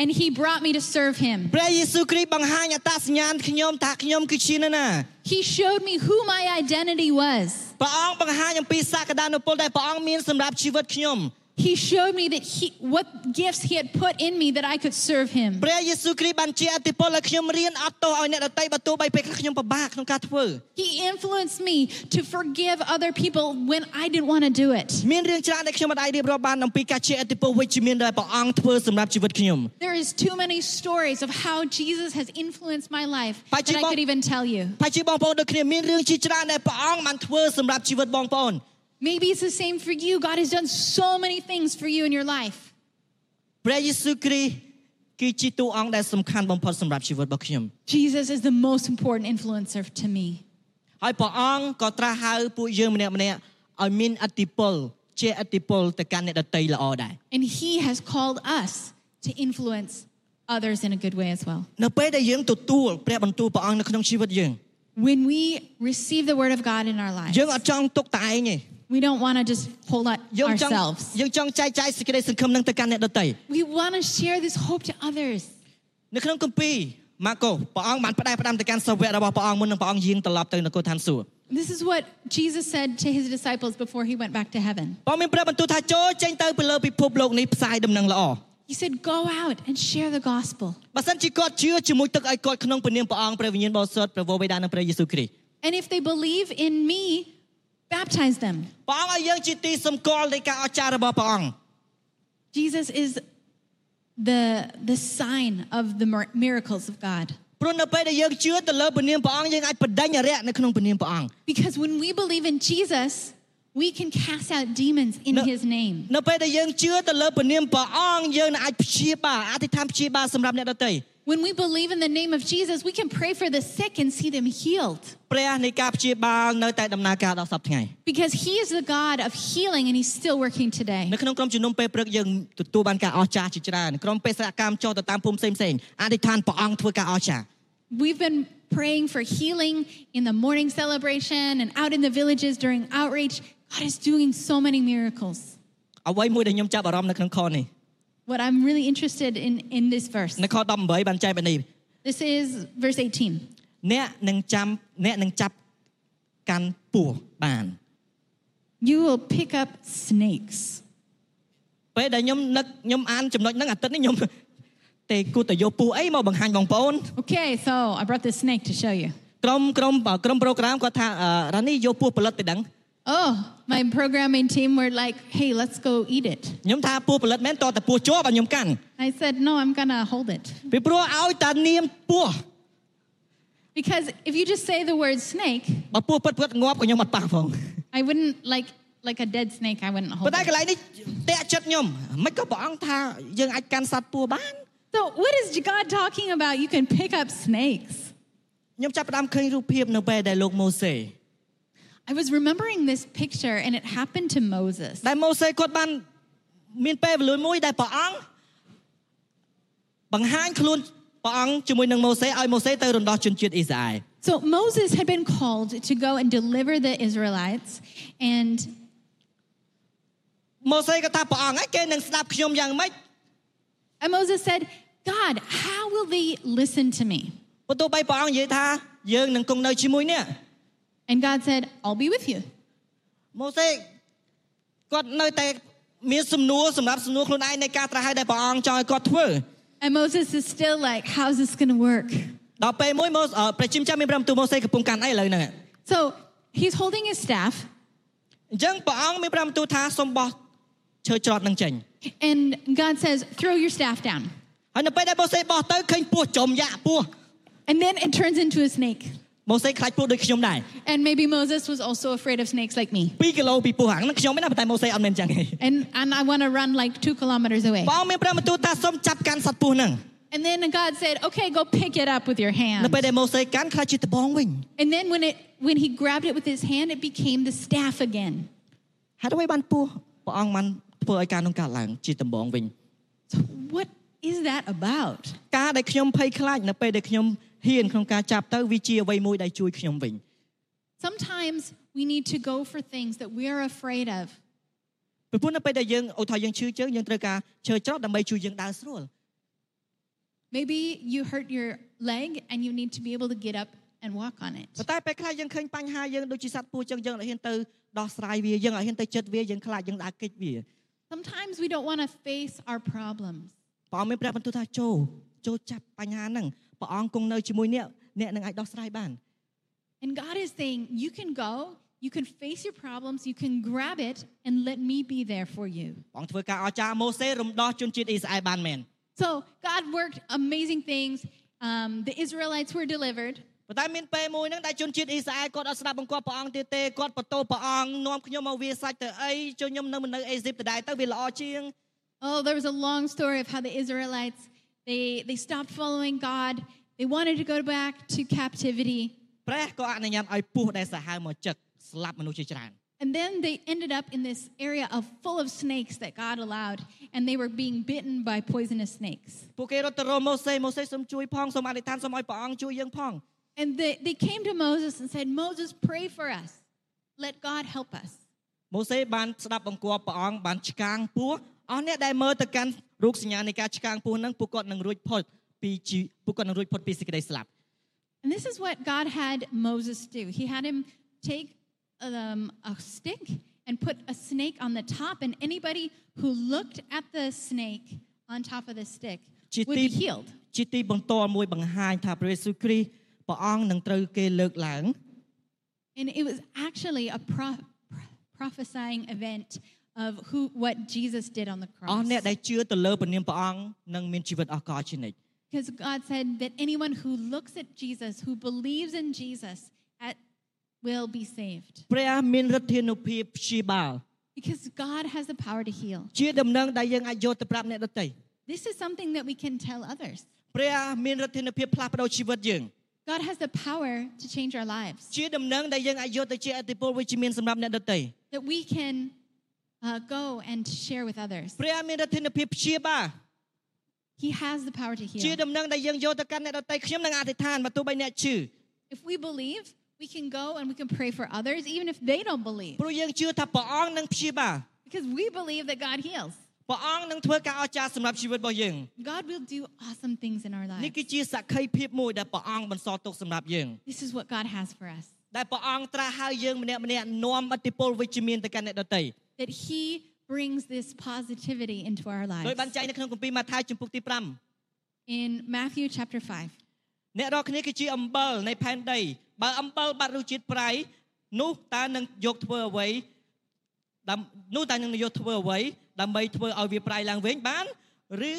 Speaker 2: and he brought me to serve him.
Speaker 1: ព្រះយេស៊ូវគ្រីស្ទបង្ហាញអត្តសញ្ញាណខ្ញុំថាខ្ញុំគឺជានរណា
Speaker 2: He showed me who my identity was.
Speaker 1: ព្រះអង្គបង្ហាញអំពីសក្តានុពលដែលព្រះអង្គមានសម្រាប់ជីវិតខ្ញុំ
Speaker 2: He showed me that he what gifts he had put in me that I could serve him.
Speaker 1: ព្រះយេស៊ូវគ្រីស្ទបានជាអតិពលឲ្យខ្ញុំរៀនអត់ទោសឲ្យអ្នកដទៃបើទោះបីពេលខ្លះខ្ញុំពិបាកក្នុងការធ្វើ
Speaker 2: He influenced me to forgive other people when I didn't want to do it.
Speaker 1: មានរឿងច្រើនដែលខ្ញុំមិនអាចរៀបរាប់បានអំពីការជាអតិពលវិជ្ជមានដែលព្រះអង្គធ្វើសម្រាប់ជីវិតខ្ញុំ
Speaker 2: There is too many stories of how Jesus has influenced my life
Speaker 1: But
Speaker 2: that I
Speaker 1: you-
Speaker 2: could even tell you.
Speaker 1: បើជាបងប្អូនដូចគ្នាមានរឿងជាច្រើនដែលព្រះអង្គបានធ្វើសម្រាប់ជីវិតបងប្អូន
Speaker 2: Maybe it's the same for you. God has done so many things for you in your life.
Speaker 1: ព្រះយេស៊ូវគ្រីស្ទគឺជាតួអង្គដែលសំខាន់បំផុតសម្រាប់ជីវិតរបស់ខ្ញុំ
Speaker 2: Jesus is the most important influencer to me.
Speaker 1: ហើយព្រះអង្គក៏ត្រាស់ហៅពួកយើងម្នាក់ៗឲ្យមានអតិពលជាអតិពលទៅកាន់អ្នកដទៃល្អដែរ
Speaker 2: And he has called us to influence others in a good way as well.
Speaker 1: នៅពេលដែលយើងទទួលព្រះបន្ទូលព្រះអង្គនៅក្នុងជីវិតយើង
Speaker 2: When we receive the word of God in our lives,
Speaker 1: យើងអត់ចង់ទុកតែឯងទេ
Speaker 2: we don't want to just hold on
Speaker 1: យើងចង់
Speaker 2: ourselves.
Speaker 1: យើងចង់ចែកចាយសេចក្តីសង្ឃឹមនឹងទៅកាន់អ្នកដទៃ
Speaker 2: We want to share this hope to others.
Speaker 1: នៅក្នុងគម្ពីរម៉ាកូព្រះអង្គបានផ្ដែផ្ដាំទៅកាន់សាវករបស់ព្រះអង្គមុននឹងព្រះអង្គយាងត្រឡប់ទៅនគរឋានសួគ៌
Speaker 2: This is what Jesus said to his disciples before he went back to heaven.
Speaker 1: ព្រះមានព្រះបន្ទូលថាចូលចេញទៅពីលើពិភពលោកនេះផ្សាយដំណឹងល្អ
Speaker 2: He said, Go out and share the gospel.
Speaker 1: បើសិនជាគាត់ជឿជាមួយទឹកឲ្យគាត់ក្នុងព្រះនាមព្រះអង្គព្រះវិញ្ញាណបរិសុទ្ធព្រះវរបិតានិងព្រះយេស៊ូវគ្រីស្ទ
Speaker 2: And if they believe in me, baptize them.
Speaker 1: ព្រះអង្គឲ្យយើងជាទីសម្គាល់នៃការអស្ចារ្យរបស់ព្រះអង្គ
Speaker 2: Jesus is the, the sign of the mir- miracles of God.
Speaker 1: ព្រោះនៅពេលដែលយើងជឿទៅលើព្រះនាមព្រះអង្គយើងអាចបដិញ្ញអរិយនៅក្នុងព្រះនាមព្រះអង្គ
Speaker 2: Because when we believe in Jesus, we can cast out demons in
Speaker 1: No.
Speaker 2: his name.
Speaker 1: នៅពេលដែលយើងជឿទៅលើព្រះនាមព្រះអង្គយើងនឹងអាចព្យាបាលអធិដ្ឋានព្យាបាលសម្រាប់អ្នកដទៃ
Speaker 2: When we believe in the name of Jesus, we can pray for the sick and see them healed
Speaker 1: ព្រះនៃការព្យាបាលនៅតែដំណើរការដល់សប្តាហ៍ថ្ងៃ
Speaker 2: because He is the God of healing and He's still working today.
Speaker 1: នៅក្នុងក្រុមជំនុំពេលព្រឹកយើងទទួលបានការអស្ចារ្យជាច្រើនក្រុមបេសកកម្មចុះទៅតាមភូមិផ្សេងផ្សេងៗអធិដ្ឋានព្រះអង្គធ្វើការអស្ចារ្យ
Speaker 2: We've been praying for healing in the morning celebration and out in the villages during outreach. God is doing so many miracles.
Speaker 1: អ្វីមួយដែលខ្ញុំចាប់អារម្មណ៍នៅក្នុងខនេះ
Speaker 2: What I'm really interested in in this verse,
Speaker 1: នៅខ18បានចែកបែបនេះ
Speaker 2: this is verse 18.
Speaker 1: អ្នកនឹងចាំអ្នកនឹងចាប់កាន់ពស់បាន
Speaker 2: You will pick up snakes.
Speaker 1: ពេលដែលខ្ញុំនឹកខ្ញុំអានចំណុចហ្នឹងអាទិត្យនេះខ្ញុំ *laughs* ទេគួរតែយកពស់អីមកបង្ហាញបងប្អូន
Speaker 2: Okay, so I brought this snake to show you.
Speaker 1: ក្រុមក្រុមក្រុម program គាត់ថាអឺរ៉ានីយកពស់ផលិតទៅដឹង
Speaker 2: Oh, my programming team were like, hey, let's go eat it.
Speaker 1: ខ្ញុំថាពស់ផលិតមែនតើតែពស់ជាប់ឲ្យខ្ញុំកាន់
Speaker 2: I said, no, I'm gonna hold it.
Speaker 1: ពីព្រោះឲ្យតានាមពស់
Speaker 2: Because if you just say the word snake,
Speaker 1: បើពស់ពិតពិតងាប់ក៏ខ្ញុំអត់ប៉ះផង
Speaker 2: I wouldn't like like a dead snake, I wouldn't
Speaker 1: ប៉ុ
Speaker 2: hold
Speaker 1: ន្តែ
Speaker 2: it.
Speaker 1: កន្លែងនេះតែកចិត្តខ្ញុំមិនក៏ព្រះអង្គថាយើងអាចកាន់សត្វពស់បាន
Speaker 2: So what is God talking about? You can pick up snakes.
Speaker 1: ខ្ញុំចាប់ផ្ដើមឃើញរូបភាពនៅពេលដែលលោកម៉ូសេ
Speaker 2: I was remembering this picture and it happened to Moses.
Speaker 1: ដែលម៉ូសេគាត់បានមានពេលវេលាមួយដែលព្រះអង្គបង្ហាញខ្លួនព្រះអង្គជាមួយនឹងម៉ូសេឲ្យម៉ូសេទៅរំដោះជនជាតិអ៊ីស្រាអែល
Speaker 2: So Moses had been called to go and deliver the Israelites and
Speaker 1: ម៉ូសេក៏ថាព្រះអង្គឯងគេនឹងស្ដាប់ខ្ញុំយ៉ាងម៉េច
Speaker 2: And Moses said, God, how will they listen to me?
Speaker 1: បន្ទាប់បីព្រះអង្គនិយាយថាយើងនឹងគង់នៅជាមួយនេះ
Speaker 2: And God said, I'll be with you.
Speaker 1: ម៉ូសេគាត់នៅតែមានសំណួរសម្រាប់សំណួរខ្លួនឯងនៃការត្រាស់ហើយដែលព្រះអង្គចង់ឲ្យគាត់ធ្វើ
Speaker 2: And Moses is still like, how's this going to work?
Speaker 1: ដល់ពេលមួយម៉ូសអឺព្រះជាម្ចាស់មានប្រំទូលម៉ូសេកំពុងកាន់អីឥឡូវហ្នឹង
Speaker 2: So he's holding his staff,
Speaker 1: អញ្ចឹងព្រះអង្គមានប្រំទូលថាសូមបោះឈើច្រត់នឹងចេញ
Speaker 2: and God says, throw your staff down.
Speaker 1: ហើយនៅពេលដែលម៉ូសេបោះទៅឃើញពស់ចំយ៉ាក់ពស់
Speaker 2: And then it turns into a snake.
Speaker 1: ម៉ូសេខ្លាចពស់ដូចខ្ញុំដែរ
Speaker 2: And maybe Moses was also afraid of snakes like me.
Speaker 1: 2គីឡូពីពស់ហ្នឹងខ្ញុំឯណាប៉ុន្តែម៉ូសេអត់មែនចឹងទេ
Speaker 2: And, and I want to run like two kilometers away.
Speaker 1: ព្រះអង្គមានប្រំទូលថាសូមចាប់កាន់សត្វពស់ហ្នឹង
Speaker 2: And then God said, okay, go pick it up with your
Speaker 1: នៅ
Speaker 2: hand.
Speaker 1: ពេលដែលម៉ូសេកាន់ខ្លាចជាត្បងវិញ
Speaker 2: And then when, it, when he grabbed it with his hand, it became the staff again.
Speaker 1: ហេតុអ្វីបានពស់ព្រះអង្គបានធ្វើឲ្យការនោះកើតឡើងជាត្បងវិញ
Speaker 2: So what is that about?
Speaker 1: ការដែលខ្ញុំភ័យខ្លាចនៅពេលដែលខ្ញុំហ៊ានក្នុងការចាប់ទៅវាជាអ្វីមួយដែលជួយខ្ញុំវិញ
Speaker 2: Sometimes we need to go for things that we are afraid of.
Speaker 1: ពីព្រោះនៅពេលដែលយើងឧទាហរណ៍យើងឈឺជើងយើងត្រូវការឈើច្រត់ដើម្បីជួយយើងដើរស្រួល
Speaker 2: Maybe you hurt your leg and you need to be able to get up and walk on it.
Speaker 1: ប៉ុន្តែពេលខ្លះយើងឃើញបញ្ហាយើងដូចជាសត្វពស់ចឹងយើងអត់ហ៊ានទៅដោះស្រាយវាយើងអត់ហ៊ានទៅចិត្តវាយើងខ្លាចយើងដើរគេចវា
Speaker 2: Sometimes we don't want to face our problems.
Speaker 1: ព្រះអង្គមានព្រះបន្ទូលថាចូលចូលចាប់បញ្ហាហ្នឹងព្រះអង្គគង់នៅជាមួយអ្នកអ្នកនឹងអាចដោះស្រាយបាន
Speaker 2: And God is saying, you can go, you can face your problems, you can grab it, and let me be there for you.
Speaker 1: ព្រះអង្គធ្វើការអស្ចារ្យម៉ូសេរំដោះជនជាតិអ៊ីស្រាអែលបានមែន
Speaker 2: So God worked amazing things. Um, the Israelites were delivered.
Speaker 1: ប៉ុន្តែមានពេលមួយហ្នឹងដែលជនជាតិអ៊ីស្រាអែលគាត់អត់ស្ដាប់បង្គាប់ព្រះអង្គទៀតទេគាត់បន្ទោសព្រះអង្គនាំខ្ញុំមកវាសាច់ទៅអីជួយខ្ញុំនៅមិននៅអេស៊ីបដដែលទៅវាល្អជាង
Speaker 2: Oh, there was a long story of how the Israelites they they stopped following God. They wanted to go back to captivity,
Speaker 1: ព្រះក៏អនុញ្ញាតឲ្យពស់ដែលសាហាវមកចឹកស្លាប់មនុស្សជាច្រើន
Speaker 2: and then they ended up in this area of full of snakes that God allowed, and they were being bitten by poisonous snakes.
Speaker 1: ពួកគេរត់ទៅរកម៉ូសេម៉ូសេសូមជួយផងសូមអធិដ្ឋានសូមឲ្យព្រះអង្គជួយយើងផង
Speaker 2: And they, they came to Moses and said, "Moses, pray for us. Let God help us."
Speaker 1: ម៉ូសេបានស្ដាប់បង្គាប់ព្រះអង្គបានឆ្កាងពស់អស់អ្នកដែលមើលទៅកាន់រូបសញ្ញានៃការឆ្កាងពស់ហ្នឹងពួកគាត់នឹងរួចផុតពីជីពួកគាត់នឹងរួចផុតពីសេចក្តីស្លាប់
Speaker 2: And this is what God had Moses do. He had him take um, a stick and put a snake on the top, and anybody who looked at the snake on top of the stick
Speaker 1: Chị
Speaker 2: would be
Speaker 1: Tim.
Speaker 2: healed.
Speaker 1: ជាទីបន្ទាល់មួយបង្ហាញថាព្រះយេស៊ូវគ្រីស្ទព្រះអង្គនឹងត្រូវគេលើកឡើង
Speaker 2: And it was actually a pro- pro- prophesying event of who what Jesus did on the
Speaker 1: អស់
Speaker 2: cross.
Speaker 1: អ្នកដែលជឿទៅលើព្រះនាមព្រះអង្គនឹងមានជីវិតអស់កលជានិច្ច
Speaker 2: Because God said that anyone who looks at Jesus, who believes in Jesus, at, will be saved.
Speaker 1: ព្រះមានឫទ្ធានុភាពព្យាបាល
Speaker 2: Because God has the power to heal.
Speaker 1: ជាដំណឹងដែលយើងអាចយកទៅប្រាប់អ្នកដទៃ
Speaker 2: This is something that we can tell others.
Speaker 1: ព្រះមានឫទ្ធានុភាពផ្លាស់ប្ដូរជីវិតយើង
Speaker 2: God has the power to change our lives,
Speaker 1: ជាដំណឹងដែលយើងអាចយកទៅជាអតិពលវិជ្ជមានសម្រាប់អ្នកដទៃ
Speaker 2: that we can uh, go and share with others.
Speaker 1: ព្រះមានឫទ្ធានុភាពព្យាបាល
Speaker 2: He has the power to
Speaker 1: ជា
Speaker 2: heal.
Speaker 1: ដំណឹងដែលយើងយកទៅកាន់អ្នកដទៃខ្ញុំនឹងអធិដ្ឋានបើទោះបីអ្នកឈឺ
Speaker 2: If we believe, we can go and we can pray for others, even if they don't believe,
Speaker 1: ព្រោះយើងជឿថាព្រះអង្គនឹងព្យាបាល
Speaker 2: because we believe that God heals.
Speaker 1: ព្រះអង្គនឹងធ្វើការអស្ចារ្យសម្រាប់ជីវិតរបស់យើង
Speaker 2: God will do awesome things in our
Speaker 1: នេះ
Speaker 2: lives.
Speaker 1: គឺជាសក្ខីភាពមួយដែលព្រះអង្គបន្សល់ទុកសម្រាប់យើង
Speaker 2: This is what God has for us.
Speaker 1: ដែលព្រះអង្គត្រាស់ហៅយើងម្នាក់ម្នាក់នាំអតិពលវិជ្ជមានទៅកាន់អ្នកដទៃ
Speaker 2: that he brings this positivity into our
Speaker 1: ដោយ
Speaker 2: lives.
Speaker 1: បានចែងនៅក្នុងគម្ពីរម៉ាថាយជំពូកទី5
Speaker 2: In Matthew chapter 5,
Speaker 1: អ្នករាល់គ្នាគឺជាអំបិលនៃផែនដីបើអំបិលបាត់រសជាតិប្រៃនោះតើនឹងយកធ្វើអ្វីដើមនោះតើនឹងយកធ្វើអ្វីដើម្បីធ្វើឲ្យវាប្រៃឡើងវិញបានឬ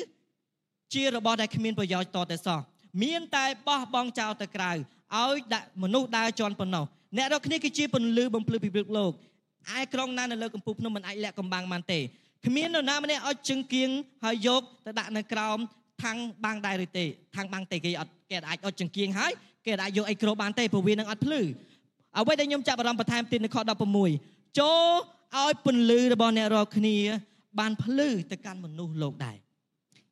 Speaker 1: ជារបស់ដែលគ្មានប្រយោជន៍តតែសោះមានតែបោះបង់ចោលទៅក្រៅឲ្យដាក់មនុស្សដើរជន់ប៉ុណ្ណោះអ្នករាល់គ្នាគឺជាពន្លឺបំភ្លឺពិភពលោកឯក្រុងណានៅលើកំពូលភ្នំមិនអាចលាក់កំបាំងបានទេគ្មាននរណាម្នាក់ឲ្យជង្គៀងហើយយកទៅដាក់នៅក្រោមថាំងបាំងដែរឬទេថាំងបាំងទេគេអត់គេអាចអត់ជង្គៀងហើយគេអាចយកអីគ្របបានទេព្រោះវានឹងអត់ភ្លឺ អ្វីដែលខ្ញុំចាប់អារម្មណ៍បន្ថែមទៀតនៅខ16ចូលឲ្យពន្លឺរបស់អ្នករាល់គ្នា បានភ្លឺទៅកាន់មនុស្សលោកដែរ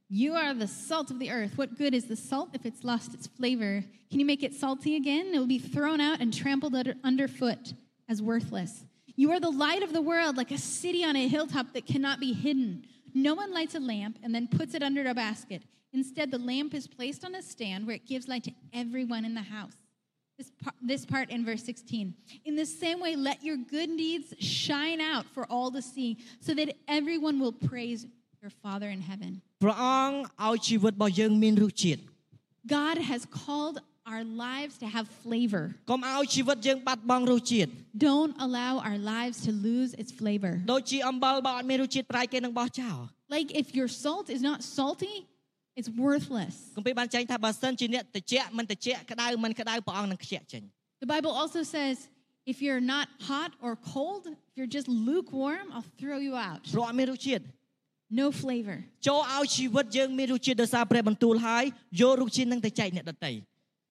Speaker 2: you are the salt of the earth. What good is the salt if it's lost its flavor? Can you make it salty again? It will be thrown out and trampled under, underfoot as worthless. You are the light of the world, like a city on a hilltop that cannot be hidden. No one lights a lamp and then puts it under a basket. Instead, the lamp is placed on a stand where it gives light to everyone in the house. This part, this part in verse 16. In the same way, let your good deeds shine out for all to see, so that everyone will praise your Father in heaven.
Speaker 1: ព្រះអង្គឲ្យជីវិតរបស់យើងមានរសជាតិ
Speaker 2: God has called our lives to have flavor.
Speaker 1: កុំឲ្យជីវិតយើងបាត់បង់រសជាតិ
Speaker 2: Don't allow our lives to lose its flavor.
Speaker 1: ដូចជាអំបិលបើអត់មានរសជាតិប្រៃគេនឹងបោះចោល
Speaker 2: Like if your salt is not salty, it's worthless.
Speaker 1: គម្ពីរបានចែងថាបើសិនជាអ្នកតិចមិនតិចក្តៅមិនក្តៅព្រះអង្គនឹងខ្ជិះចេញ
Speaker 2: The Bible also says if you're not hot or cold, if you're just lukewarm, I'll throw you out.
Speaker 1: ព្រោះអត់មានរសជាតិ
Speaker 2: No flavor.
Speaker 1: ចូលឲ្យជីវិតយើងមានរសជាតិដោយសារព្រះបន្ទូលហើយយករសជាតិនឹងទៅចែកអ្នកដទៃ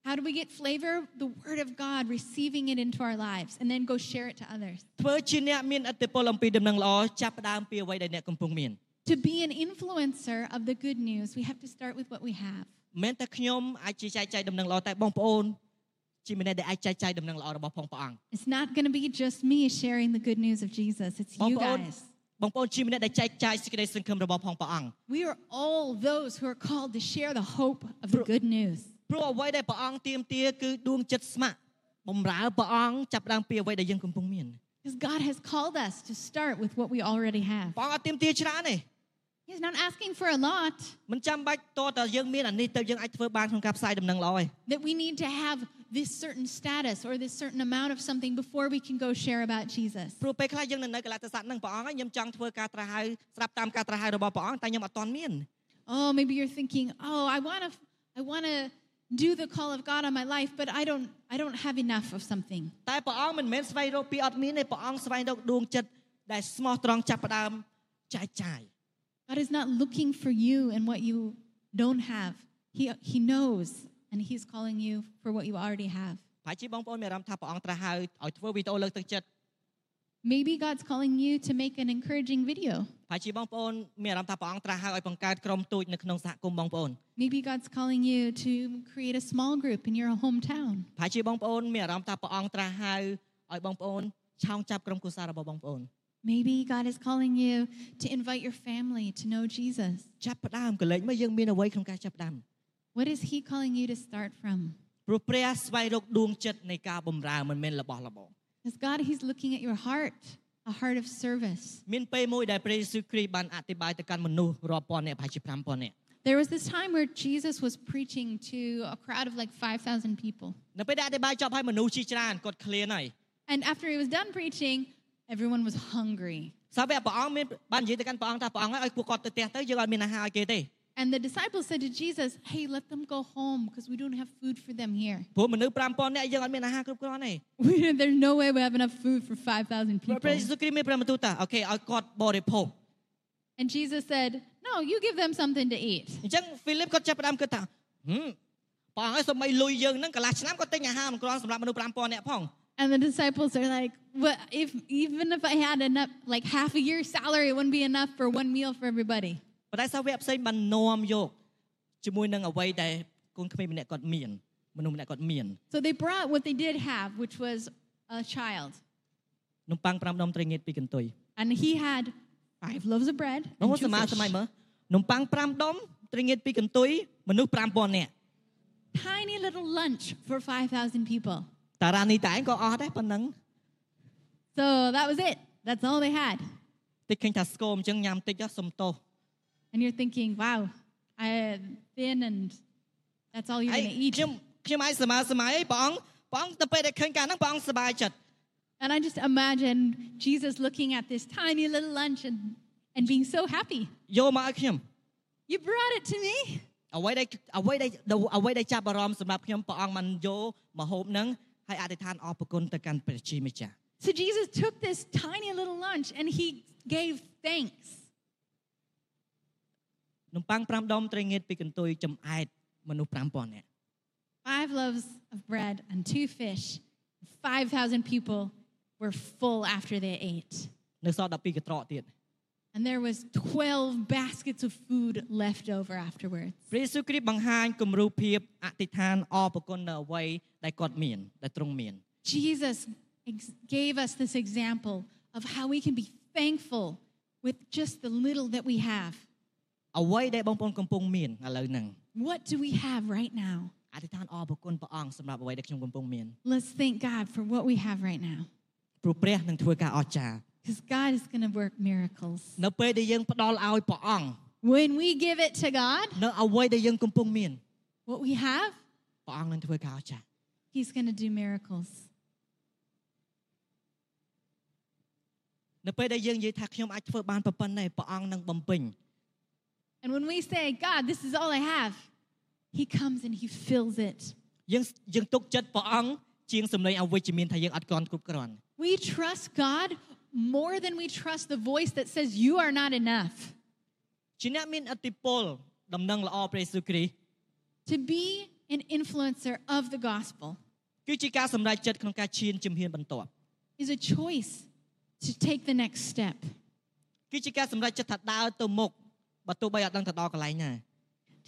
Speaker 2: How do we get flavor? The Word of God, receiving it into our lives, and then go share it to others.
Speaker 1: ធ្វើជាអ្នកមានអត្តពលអំពីដំណឹងល្អចាប់ផ្ដើមពីអ្វីដែលអ្នកកំពុងមាន
Speaker 2: To be an influencer of the good news, we have to start with what we have.
Speaker 1: មិនមែនតែខ្ញុំអាចជាចែកចាយដំណឹងល្អតែបងប្អូនជាម្នាក់ដែលអាចចែកចាយដំណឹងល្អរបស់ផងព្រះអង្គ
Speaker 2: It's not going to be just me sharing the good news of Jesus, it's
Speaker 1: បង
Speaker 2: you
Speaker 1: ប្អូន
Speaker 2: guys.
Speaker 1: បងប្អូនជាម្នាក់ដែលចែកចាយសេចក្តីសង្ឃឹមរបស់ផងព្រះអង្គ
Speaker 2: We are all those who are called to share the hope of the
Speaker 1: Bro-
Speaker 2: good news.
Speaker 1: ព្រោះអ្វីដែលព្រះអង្គទាមទារគឺដួងចិត្តស្ម័គ្របំរើព្រះអង្គចាប់ផ្ដើមពីអ្វីដែលយើងកំពុងមាន
Speaker 2: Because God has called us to start with what we already have.
Speaker 1: ព្រះអង្គអត់ទាមទារច្រើនទេ
Speaker 2: He's not asking for a lot,
Speaker 1: មិនចាំបាច់តតែយើងមានអានេះទៅយើងអាចធ្វើបានក្នុងការផ្សាយដំណឹងល្អទេ
Speaker 2: that we need to have this certain status or this certain amount of something before we can go share about Jesus.
Speaker 1: ព្រោះពេលខ្លះយើងនៅនៅកលតិស័កនឹងព្រះអង្គហើយខ្ញុំចង់ធ្វើការត្រាស់ហៅស្រាប់តាមការត្រាស់ហៅរបស់ព្រះអង្គតែខ្ញុំអត់ទាន់មាន
Speaker 2: Oh, maybe you're thinking, "Oh, I want to I want to do the call of God on my life, but I don't I don't have enough of something."
Speaker 1: តែព្រះអង្គមិនមែនស្វែងរកពីអត់មានទេព្រះអង្គស្វែងរកដួងចិត្តដែលស្មោះត្រង់ចាប់ផ្ដើមចែកចាយ
Speaker 2: God is not looking for you and what you don't have. He he knows and he's calling you for what you already have.
Speaker 1: ប្រហែលជាបងប្អូនមានអារម្មណ៍ថាព្រះអង្គត្រាស់ហៅឲ្យធ្វើវីដេអូលើកទឹកចិត្ត
Speaker 2: Maybe God's calling you to make an encouraging video.
Speaker 1: ប្រហែលជាបងប្អូនមានអារម្មណ៍ថាព្រះអង្គត្រាស់ហៅឲ្យបង្កើតក្រុមទូចនៅក្នុងសហគមន៍បងប្អូន
Speaker 2: Maybe God's calling you to create a small group in your hometown.
Speaker 1: ប្រហែលជាបងប្អូនមានអារម្មណ៍ថាព្រះអង្គត្រាស់ហៅឲ្យបងប្អូនឆោងចាប់ក្រុមគ្រួសាររបស់បងប្អូន
Speaker 2: Maybe God is calling you to invite your family to know Jesus.
Speaker 1: ចាប់ផ្ដើមកលេចមកយើងមានអ្វីក្នុងការចាប់ផ្ដើម
Speaker 2: What is he calling you to start from?
Speaker 1: ព្រោះព្រះស្វែងរកដួងចិត្តនៃការបម្រើមិនមែនរបស់របរ
Speaker 2: Because God, He's looking at your heart, a heart of service.
Speaker 1: មានពេលមួយដែលព្រះយេស៊ូវគ្រីស្ទបានអធិប្បាយទៅកាន់មនុស្សរាប់ពាន់នាក់ប្រហែលជា5000នាក់
Speaker 2: There was this time where Jesus was preaching to a crowd of like 5,000 people.
Speaker 1: នៅពេលដែលអធិប្បាយចប់ហើយមនុស្សជាច្រើនគាត់ឃ្លានហើយ
Speaker 2: And after he was done preaching, everyone was hungry.
Speaker 1: សាវកព្រះអង្គមានបាននិយាយទៅកាន់ព្រះអង្គថាព្រះអង្គឲ្យពួកគាត់ទៅផ្ទះទៅយើងអត់មានអាហារឲ្យគេទេ
Speaker 2: And the disciples said to Jesus, Hey, let them go home because we don't have food for them here.
Speaker 1: ព្រោះមនុស្ស5000នាក់យើងអត់មានអាហារគ្រប់គ្រាន់ទេ
Speaker 2: *laughs* We, there's no way we have enough food for 5,000
Speaker 1: ព្រោះព្រះ
Speaker 2: people.
Speaker 1: យេស៊ូវគ្រីស្ទមានព្រះបន្ទូលថាអូខេឲ្យគាត់បរិភោគ
Speaker 2: And Jesus said, No, you give them something to eat.
Speaker 1: អញ្ចឹងហ្វីលីបគាត់ចាប់ផ្ដើមគិតថា ហឹមព្រះអង្គឯងសម័យលុយយើងហ្នឹងកន្លះឆ្នាំក៏ទិញអាហារមិនគ្រាន់សម្រាប់មនុស្ស5000នាក់ផង
Speaker 2: And the disciples are like, "What if even if I had enough, like half a year's salary, it wouldn't be enough for one meal for everybody."
Speaker 1: ប៉ុន្តែសាវកផ្សេងបាននាំយកជាមួយនឹងអ្វីដែលកូនក្មេងម្នាក់គាត់មានមនុស្សម្នាក់គាត់មាន
Speaker 2: So they brought what they did have, which was a child,
Speaker 1: នំប៉័ង5ដុំត្រីងៀត2កន្ទុយ
Speaker 2: and he had five loaves of bread
Speaker 1: នោះ
Speaker 2: and
Speaker 1: ស
Speaker 2: two
Speaker 1: មា
Speaker 2: fish.
Speaker 1: សម័យមើលនំប៉័ង5ដុំត្រីងៀត2កន្ទុយមនុស្ស5000នាក់
Speaker 2: tiny little lunch for five thousand people.
Speaker 1: តារានេះតែឯងក៏អស់ដែរប៉ុណ្ណឹង
Speaker 2: So that was it. That's all they had.
Speaker 1: តិចឃើញថាស្គមអញ្ចឹងញ៉ាំតិចចុះសុំទោស
Speaker 2: And you're thinking, "Wow, I thin, and that's all you're
Speaker 1: ហើយ
Speaker 2: gonna eat."
Speaker 1: ខ្ញុំខ្ញុំអាចសមាសម័យឯងព្រះអង្គព្រះអង្គទៅពេលដែលឃើញការហ្នឹងព្រះអង្គសប្បាយចិត្ត
Speaker 2: And I just imagine Jesus looking at this tiny little lunch and, and being so happy.
Speaker 1: យកមកឲ្យខ្ញុំ
Speaker 2: You brought it to me.
Speaker 1: អ្វីដែលអ្វីដែលអ្វីដែលចាប់អារម្មណ៍សម្រាប់ខ្ញុំព្រះអង្គបានយកមកហូបហ្នឹងហើយអធិដ្ឋានអរព្រគុណទៅកាន់ព្រះជាម្ចាស់
Speaker 2: So Jesus took this tiny little lunch and he gave thanks.
Speaker 1: នំប៉័ង5ដុំត្រីងៀតពីកន្ទុយចំអែតមនុស្ស5000នាក់
Speaker 2: Five loaves of bread and two fish. 5,000 people were full after they ate.
Speaker 1: នៅសល់12កត្រកទៀត
Speaker 2: And there was 12 baskets of food left over afterwards.
Speaker 1: ព្រះយេស៊ូវគ្រីស្ទបង្ហាញគំរូភាពអធិដ្ឋានអរព្រគុណនៅអ្វីដែលគាត់មានដែលទ្រង់មាន
Speaker 2: Jesus ex- gave us this example of how we can be thankful with just the little that we have.
Speaker 1: អ្វីដែលបងប្អូនកំពុងមានឥឡូវហ្នឹង
Speaker 2: What do we have right now?
Speaker 1: អធិដ្ឋានអរព្រគុណព្រះអង្គសម្រាប់អ្វីដែលខ្ញុំកំពុងមាន
Speaker 2: Let's thank God for what we have right now
Speaker 1: ព្រោះព្រះនឹងធ្វើការអស្ចារ្យ
Speaker 2: because God is going to work miracles.
Speaker 1: នៅពេលដែលយើងផ្ដល់ឲ្យព្រះអង្គ
Speaker 2: When we give it to God,
Speaker 1: នៅអ្វីដែលយើងកំពុងមាន
Speaker 2: what we have,
Speaker 1: ព្រះអង្គនឹងធ្វើការអស្ចារ្យ
Speaker 2: He's going to do miracles.
Speaker 1: នៅពេលដែលយើងនិយាយថាខ្ញុំអាចធ្វើបានប៉ុណ្ណេះព្រះអង្គនឹងបំពេញ
Speaker 2: And when we say, God, this is all I have, He comes and He fills it.
Speaker 1: យើងយើងទុកចិត្តព្រះអង្គជាងសម្លេងអវិជ្ជមានថាយើងអត់កាន់គ្រប់គ្រាន់
Speaker 2: We trust God more than we trust the voice that says, You are not enough.
Speaker 1: ជាអ្នកមានអតិពលដំណឹងល្អព្រះយេស៊ូវគ្រីស្ទ
Speaker 2: To be an influencer of the gospel
Speaker 1: គឺជាការសម្រេចចិត្តក្នុងការឈានជំហានបន្ទាប់
Speaker 2: is a choice to take the next step.
Speaker 1: គឺជាការសម្រេចចិត្តថាដើរទៅមុខបើទោះបីអត់ដឹងទៅដល់កន្លែងណា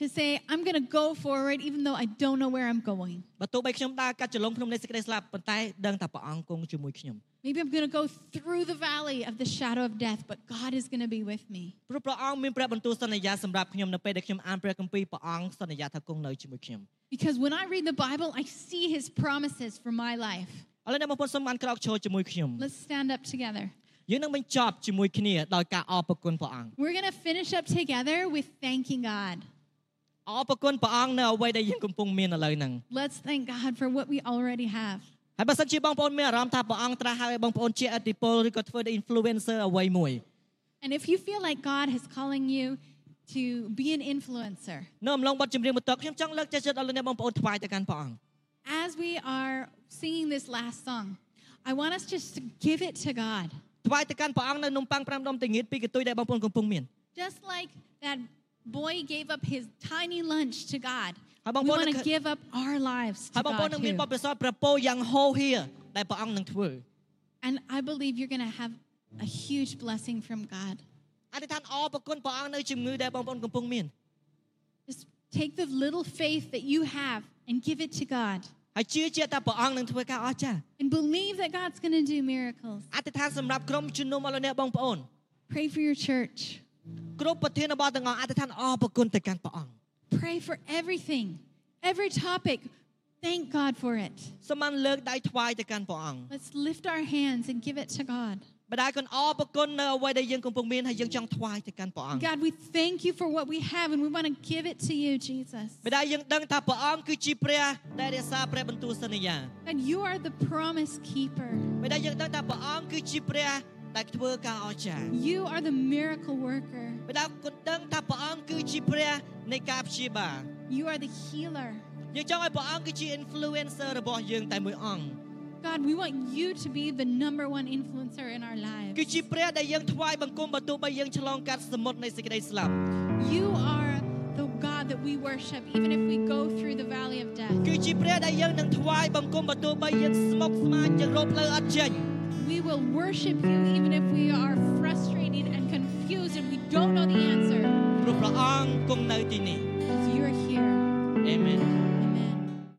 Speaker 2: To say, I'm going to go forward even though I don't know where I'm going.
Speaker 1: បើទោះបីខ្ញុំដើរកាត់ចលងភ្នំនៃសេចក្តីស្លាប់ប៉ុន្តែដឹងថាព្រះអង្គគង់ជាមួយខ្ញុំ
Speaker 2: Maybe I'm going to go through the valley of the shadow of death, but God is going to be with me.
Speaker 1: ព្រោះព្រះអង្គមានព្រះបន្ទូលសន្យាសម្រាប់ខ្ញុំនៅពេលដែលខ្ញុំអានព្រះគម្ពីរព្រះអង្គសន្យាថាគង់នៅជាមួយខ្ញុំ
Speaker 2: Because when I read the Bible, I see his promises for my life.
Speaker 1: ឥឡូវអ្នកបងប្អូនសូមបានក្រោកឈរជាមួយខ្ញុំ
Speaker 2: Let's stand up together.
Speaker 1: យើងនឹងបញ្ចប់ជាមួយគ្នាដោយការអរព្រគុណព្រះអង្គ
Speaker 2: We're going to finish up together with thanking God.
Speaker 1: អរព្រគុណព្រះអង្គនៅអ្វីដែលយើងកំពុងមានឥឡូវហ្នឹង
Speaker 2: Let's thank God for what we already have.
Speaker 1: ហើយបើសិនជាបងប្អូនមានអារម្មណ៍ថាព្រះអង្គត្រាស់ហើយបងប្អូនជាអតិពលឬក៏ធ្វើជា influencer អ្វីមួយ
Speaker 2: And if you feel like God is calling you to be an influencer,
Speaker 1: នៅអំឡុងបទចម្រៀងបន្ទាប់ខ្ញុំចង់លើកចិត្តដល់លោកអ្នកបងប្អូនថ្វាយទៅកាន់ព្រះអង្គ
Speaker 2: as we are singing this last song, I want us just to give it to God.
Speaker 1: ថ្វាយទៅកាន់ព្រះអង្គនៅនំប៉័ង5ដុំតងៀតពីកន្ទុយដែលបងប្អូនកំពុងមាន
Speaker 2: Just like that boy gave up his tiny lunch to God,
Speaker 1: Hai
Speaker 2: we
Speaker 1: bang pon
Speaker 2: want to
Speaker 1: nak-
Speaker 2: give up our lives
Speaker 1: ហើ
Speaker 2: to
Speaker 1: យបងប្អូន
Speaker 2: God.
Speaker 1: នឹងមានប
Speaker 2: Too.
Speaker 1: ទពិសោធន៍ប្រពោយ៉ាងហោហៀរដែលព្រះអង្គនឹងធ្វើ
Speaker 2: And I believe you're going to have a huge blessing from God.
Speaker 1: អធិដ្ឋានអរព្រគុណព្រះអង្គនៅជំងឺដែលបងប្អូនកំពុងមាន
Speaker 2: Just take the little faith that you have and give it to God.
Speaker 1: ហើយជឿជាក់ថាព្រះអង្គនឹងធ្វើការអស្ចារ្យ
Speaker 2: And believe that God's going to do miracles.
Speaker 1: អធិដ្ឋានសម្រាប់ក្រុមជំនុំអស់លោកអ្នកបងប្អូន
Speaker 2: Pray for your church.
Speaker 1: គ្រប់ប្រធានបទទាំងអស់អធិដ្ឋានអរព្រគុណទៅកាន់ព្រះអង្គ
Speaker 2: Pray for everything, every topic. Thank God for it.
Speaker 1: សូមបានលើកដៃថ្វាយទៅកាន់ព្រះអង្គ
Speaker 2: Let's lift our hands and give it to God.
Speaker 1: បដាគុណអរព្រគុណនៅអ្វីដែលយើងកំពុងមានហើយយើងចង់ថ្វាយទៅកាន់ព្រះអង្គ
Speaker 2: God, we thank you for what we have and we want to give it to you, Jesus.
Speaker 1: បដាយើងដឹងថាព្រះអង្គគឺជាព្រះដែលរក្សាព្រះបន្ទូលសន្យា
Speaker 2: God, you are the promise keeper.
Speaker 1: បដាយើងដឹងថាព្រះអង្គគឺជាព្រះដែលធ្វើការអស្ចារ្យ
Speaker 2: You are the miracle worker.
Speaker 1: បដាគុណដឹងថាព្រះអង្គគឺជាព្រះនៃការព្យាបាល
Speaker 2: You are the healer.
Speaker 1: យើងចង់ឲ្យព្រះអង្គគឺជា influencer របស់យើងតែមួយអង្គ
Speaker 2: God, we want you to be the number one influencer in our
Speaker 1: គឺ
Speaker 2: lives.
Speaker 1: ជាព្រះដែលយើងថ្វាយបង្គំបើទោះបីយើងឆ្លងកាត់សមុទ្រនៃសេចក្តីស្លាប់
Speaker 2: You are the God God that we worship, even if we go through the valley of death.
Speaker 1: គឺជាព្រះដែលយើងនឹងថ្វាយបង្គំបើទោះបីយើងស្មុគស្មាញយើងរកផ្លូវអត់ចេញ
Speaker 2: We will worship you even if we are frustrated and confused and we don't know the answer.
Speaker 1: ព្រោះព្រះអង្គគង់នៅទីនេះ
Speaker 2: Because you're here.
Speaker 1: អេមែន